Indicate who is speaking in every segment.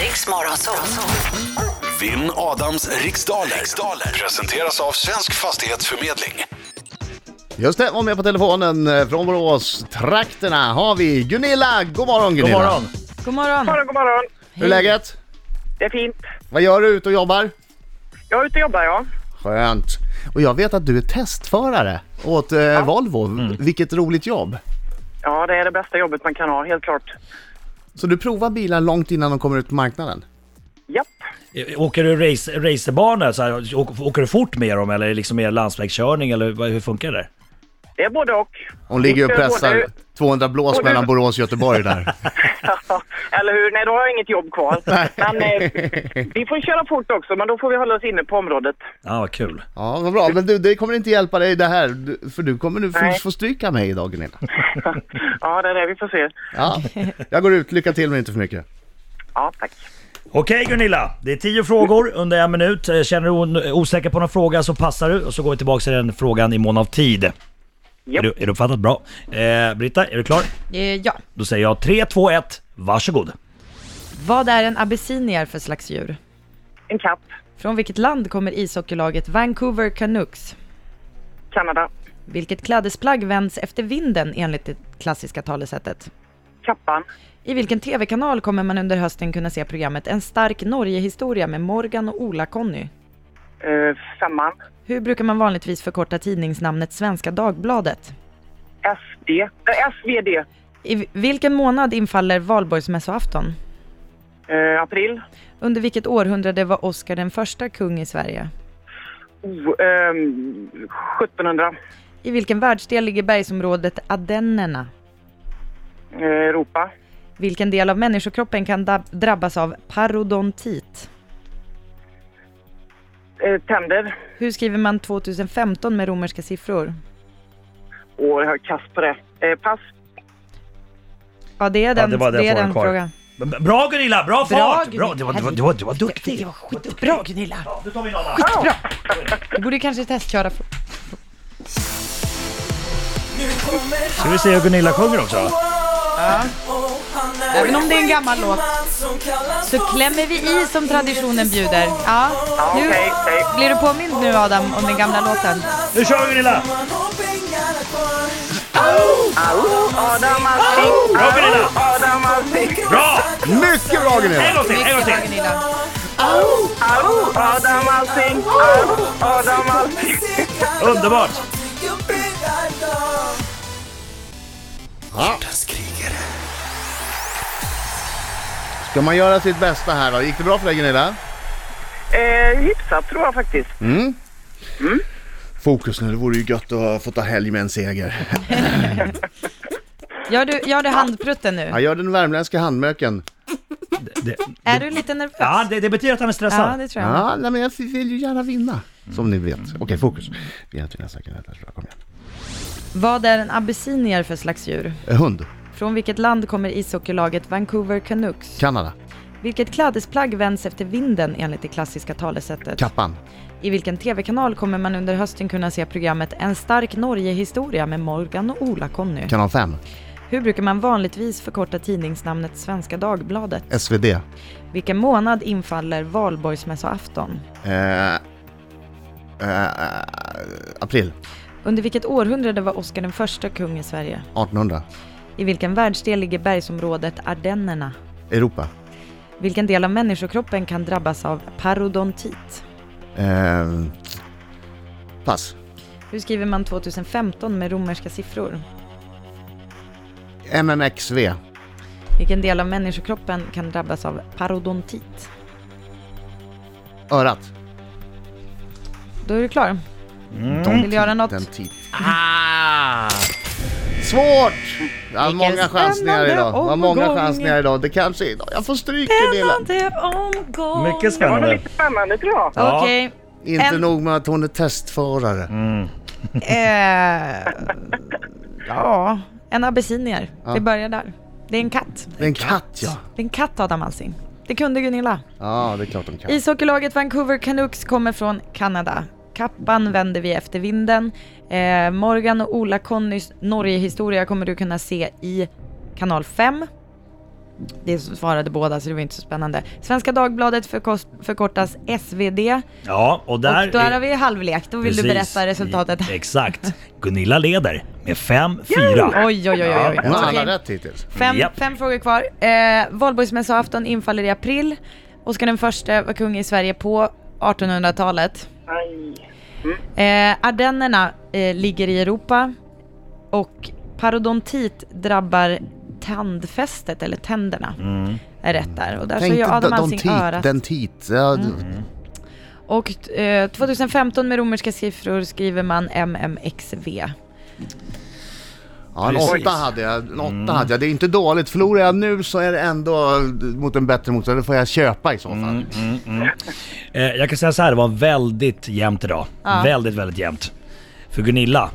Speaker 1: Riks Morgonzoo.
Speaker 2: Vinn Adams riksdaler. riksdaler presenteras av Svensk Fastighetsförmedling.
Speaker 3: Just det, var med på telefonen eh, från Borås trakterna har vi Gunilla. God morgon
Speaker 4: God
Speaker 3: Gunilla.
Speaker 4: morgon!
Speaker 5: God morgon.
Speaker 6: morgon, god morgon.
Speaker 3: Hur är läget?
Speaker 6: Det är fint.
Speaker 3: Vad gör du ute och jobbar?
Speaker 6: Jag är ute och jobbar, ja.
Speaker 3: Skönt. Och jag vet att du är testförare åt eh, Volvo.
Speaker 4: Mm.
Speaker 3: Vilket roligt jobb.
Speaker 6: Ja, det är det bästa jobbet man kan ha, helt klart.
Speaker 3: Så du provar bilar långt innan de kommer ut på marknaden?
Speaker 6: Japp.
Speaker 4: Eh, Åker du race, racerbanor? Så här, åker, åker du fort med dem eller är det liksom mer landsvägskörning eller vad- hur funkar det?
Speaker 6: Det är både och.
Speaker 3: Hon ligger ju och
Speaker 6: Inte
Speaker 3: pressar
Speaker 6: både-
Speaker 3: 200 blås
Speaker 6: både-
Speaker 3: mellan Borås och Göteborg där.
Speaker 6: Eller hur? Nej, då har jag inget jobb kvar. Men eh, vi får köra fort också, men då får vi hålla oss inne på området.
Speaker 4: Ja, Ah, vad kul.
Speaker 3: Ja, vad bra. Men du, det kommer inte hjälpa dig det här. Du- För du kommer nu få,
Speaker 6: Nej.
Speaker 3: få stryka mig idag Gunilla.
Speaker 6: Ja, det är det. Vi får se.
Speaker 3: Ja. Jag går ut. Lycka till men inte för mycket.
Speaker 6: Ja, tack.
Speaker 4: Okej Gunilla, det är tio frågor under en minut. Eh, Känner du on- osäker på någon fråga så passar du och så går vi tillbaka till den frågan i mån av tid. Är du, är du uppfattat? Bra. Eh, Britta, är du klar?
Speaker 5: Eh, Ja,
Speaker 4: Då säger jag 3, 2, 1, varsågod.
Speaker 5: vad är en abessinier för slags djur?
Speaker 6: En katt.
Speaker 5: Från vilket land kommer ishockeylaget Vancouver Canucks?
Speaker 6: Kanada.
Speaker 5: Vilket klädesplagg vänds efter vinden enligt det klassiska talesättet?
Speaker 6: Kappan.
Speaker 5: I vilken tv-kanal kommer man under hösten kunna se programmet En stark Norgehistoria med Morgan och Ola-Conny?
Speaker 6: Eh, femman.
Speaker 5: Hur brukar man vanligtvis förkorta tidningsnamnet Svenska Dagbladet?
Speaker 6: SD. Eh, SVD.
Speaker 5: I vilken månad infaller valborgsmässoafton?
Speaker 6: Eh, april.
Speaker 5: Under vilket århundrade var Oscar den första kung i Sverige?
Speaker 6: Oh, ehm, 1700.
Speaker 5: I vilken världsdel ligger bergsområdet Ardennerna?
Speaker 6: Eh, Europa.
Speaker 5: Vilken del av människokroppen kan dab- drabbas av parodontit?
Speaker 6: Eh, tänder.
Speaker 5: Hur skriver man 2015 med romerska siffror?
Speaker 6: Åh, jag har kast på det. Eh, pass.
Speaker 5: Ja, det är den,
Speaker 4: det var den
Speaker 5: det är
Speaker 4: frågan
Speaker 5: den
Speaker 4: kvar.
Speaker 5: frågan.
Speaker 4: B- b- Bra Gunilla, bra fart! Bra, du, var, du, var, du, var, du var duktig.
Speaker 5: Det var skitbra Gunilla!
Speaker 4: Ja, Nu tar vi en annan.
Speaker 5: Bra! Du borde kanske testköra. för-
Speaker 4: Ska vi se hur Gunilla sjunger också?
Speaker 5: Även om det är en gammal låt så klämmer vi i som traditionen bjuder. Ja, nu
Speaker 6: okej, okej.
Speaker 5: blir du påmind nu Adam om den gamla låten.
Speaker 4: Nu kör vi Gunilla!
Speaker 6: Adam Alsing.
Speaker 4: Bra Gunilla!
Speaker 6: Adam Alsing.
Speaker 4: Bra!
Speaker 3: Mycket bra
Speaker 4: En
Speaker 3: Gunilla!
Speaker 4: gång till, en gång
Speaker 5: Mycket bra
Speaker 4: till!
Speaker 5: Gunilla.
Speaker 6: Au, Adam Alsing. Au, Adam Alsing.
Speaker 4: Underbart!
Speaker 2: Hjärtats krigare.
Speaker 3: Ska man göra sitt bästa här då? Gick det bra för dig Gunilla?
Speaker 6: Eh, hyfsat tror jag faktiskt.
Speaker 5: Mm,
Speaker 3: Fokus nu, det vore ju gött att få ta helg med en seger.
Speaker 5: Gör du, gör du handprutten nu?
Speaker 3: Jag gör den värmländska handmöken.
Speaker 4: Det,
Speaker 5: Är du lite nervös?
Speaker 4: ja, det, det betyder att han är
Speaker 5: Ja,
Speaker 4: stressad.
Speaker 5: det tror jag.
Speaker 3: Ja, nej, men jag vill ju gärna vinna. Som ni vet. Okej, fokus. Vi har inte nästan kunnat läsa. Kom igen.
Speaker 5: Vad är en abessinier för slags djur?
Speaker 3: Eh, Hund.
Speaker 5: Från vilket land kommer ishockeylaget Vancouver Canucks?
Speaker 3: Kanada.
Speaker 5: Vilket klädesplagg vänds efter vinden enligt det klassiska talesättet?
Speaker 3: Kappan.
Speaker 5: I vilken tv-kanal kommer man under hösten kunna se programmet En stark Norgehistoria med Morgan och Ola-Conny?
Speaker 3: Kanal 5.
Speaker 5: Hur brukar man vanligtvis förkorta tidningsnamnet Svenska Dagbladet?
Speaker 3: SvD.
Speaker 5: Vilken månad infaller valborgsmässoafton?
Speaker 3: Eh, eh, april.
Speaker 5: Under vilket århundrade var Oscar den första kung i Sverige?
Speaker 3: 1800.
Speaker 5: I vilken världsdel ligger bergsområdet Ardennerna?
Speaker 3: Europa.
Speaker 5: Vilken del av människokroppen kan drabbas av parodontit?
Speaker 3: Eh, pass.
Speaker 5: Hur skriver man 2015 med romerska siffror?
Speaker 3: MMXV.
Speaker 5: Vilken del av människokroppen kan drabbas av parodontit?
Speaker 3: Örat.
Speaker 5: Då är du klar.
Speaker 3: Mm.
Speaker 5: Vill du göra något?
Speaker 3: Dentit. Ah! Svårt! Det var
Speaker 5: Vilken
Speaker 3: många chansningar
Speaker 5: spännande
Speaker 3: idag. Det var många
Speaker 5: omgång.
Speaker 3: chansningar idag. Det kanske är idag. Jag får stryk i delen.
Speaker 5: Spännande omgång!
Speaker 4: Mycket
Speaker 6: Det var nog
Speaker 4: spännande.
Speaker 6: lite spännande tror jag.
Speaker 4: Ja.
Speaker 5: Okej.
Speaker 3: Inte
Speaker 5: En-
Speaker 3: nog med att hon är testförare.
Speaker 5: Eh, ja, en abessinier.
Speaker 3: Ja.
Speaker 5: Vi börjar där. Det är en katt.
Speaker 3: Det är en katt ja.
Speaker 5: Det är en katt, Adam Alsing. Det kunde Gunilla.
Speaker 3: Ja, det är klart de kan.
Speaker 5: Ishockeylaget Vancouver Canucks kommer från Kanada. Kappan vänder vi efter vinden. Eh, Morgan och Ola-Connys Norgehistoria kommer du kunna se i kanal 5. Det svarade båda så det var inte så spännande. Svenska Dagbladet förkos- förkortas SvD.
Speaker 4: Ja, och där...
Speaker 5: och då
Speaker 4: är-
Speaker 5: har vi halvlek. Då vill du
Speaker 4: Precis.
Speaker 5: berätta resultatet.
Speaker 4: I- Exakt. Gunilla leder med 5-4.
Speaker 5: Oj, oj, oj, oj. oj.
Speaker 3: Hon har alla
Speaker 5: Okej.
Speaker 3: rätt hittills.
Speaker 5: Fem,
Speaker 4: Japp.
Speaker 5: fem frågor kvar. Eh, Valborgsmässoafton infaller i april. Oskar den första var kung i Sverige på 1800-talet.
Speaker 6: Aj.
Speaker 5: Eh, Ardennerna eh, ligger i Europa och parodontit drabbar tandfästet eller tänderna. Är rätt där. Alltså, Och Mm. där så
Speaker 3: Tänk
Speaker 5: gör Adam
Speaker 3: den
Speaker 5: Alsing
Speaker 3: tit,
Speaker 5: örat.
Speaker 3: den tit. Ja,
Speaker 5: Och eh, 2015 med romerska siffror skriver man MMXV.
Speaker 3: ja, en
Speaker 4: Precis.
Speaker 3: åtta hade jag. En åtta hade jag. Det är inte dåligt. Förlorar jag nu så är det ändå eh, mot en bättre motståndare. Det får jag köpa i så fall. mm.
Speaker 4: Eh, jag kan säga så här, det var väldigt jämnt idag. Väldigt, väldigt jämnt. För Gunilla,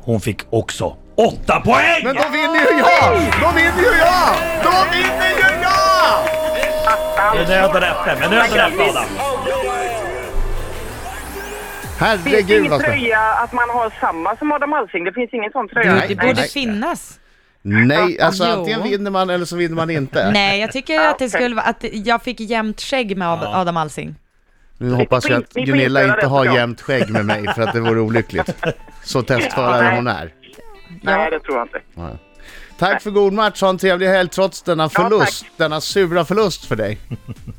Speaker 4: hon fick också 8 poäng!
Speaker 3: Men då vinner ju jag! Då vinner ju jag! Då vinner ju jag!
Speaker 4: Med nöd och näppe, med nöd och näppe Adam.
Speaker 6: Finns det
Speaker 3: Herregud
Speaker 6: ingen
Speaker 3: vad spännande.
Speaker 6: tröja att man har samma som Adam Alsing? Det finns ingen sån tröja.
Speaker 5: Det
Speaker 3: Nej,
Speaker 5: borde
Speaker 3: nej.
Speaker 5: finnas.
Speaker 3: Nej, alltså
Speaker 5: Jo.
Speaker 3: antingen vinner man eller så vinner man inte.
Speaker 5: Nej, jag tycker att det skulle vara att jag fick jämnt skägg med Ad- Adam Alsing.
Speaker 3: Nu hoppas jag att
Speaker 6: Ni får inte
Speaker 3: Gunilla
Speaker 6: göra
Speaker 3: inte
Speaker 6: det,
Speaker 3: har
Speaker 6: såklart.
Speaker 3: jämnt skägg med mig för att det vore olyckligt. Så testförare
Speaker 6: Nej.
Speaker 3: hon är.
Speaker 6: Nej, det tror jag inte.
Speaker 3: Tack för god match, ha en trevlig helg trots denna
Speaker 6: Ja,
Speaker 3: förlust, denna sura förlust för dig.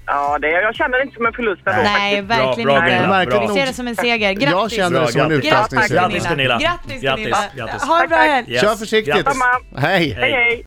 Speaker 6: Ja, det, jag känner det inte som en förlust ändå.
Speaker 5: Nej, verkligen
Speaker 4: bra Gunilla,
Speaker 5: inte.
Speaker 4: bra.
Speaker 3: Märkligt
Speaker 5: Jag ser det som en seger. Grattis!
Speaker 3: Jag känner det som en
Speaker 4: Bra,
Speaker 3: utklassning.
Speaker 5: Grattis
Speaker 4: Grattis,
Speaker 5: Gunilla!
Speaker 4: Gunilla.
Speaker 5: Grattis
Speaker 4: Grattis,
Speaker 5: Gunilla!
Speaker 4: grattis.
Speaker 5: Ha en bra helg!
Speaker 4: Yes.
Speaker 3: Kör försiktigt!
Speaker 4: Grattis.
Speaker 6: Samma.
Speaker 3: Hej!
Speaker 6: Hej, hej!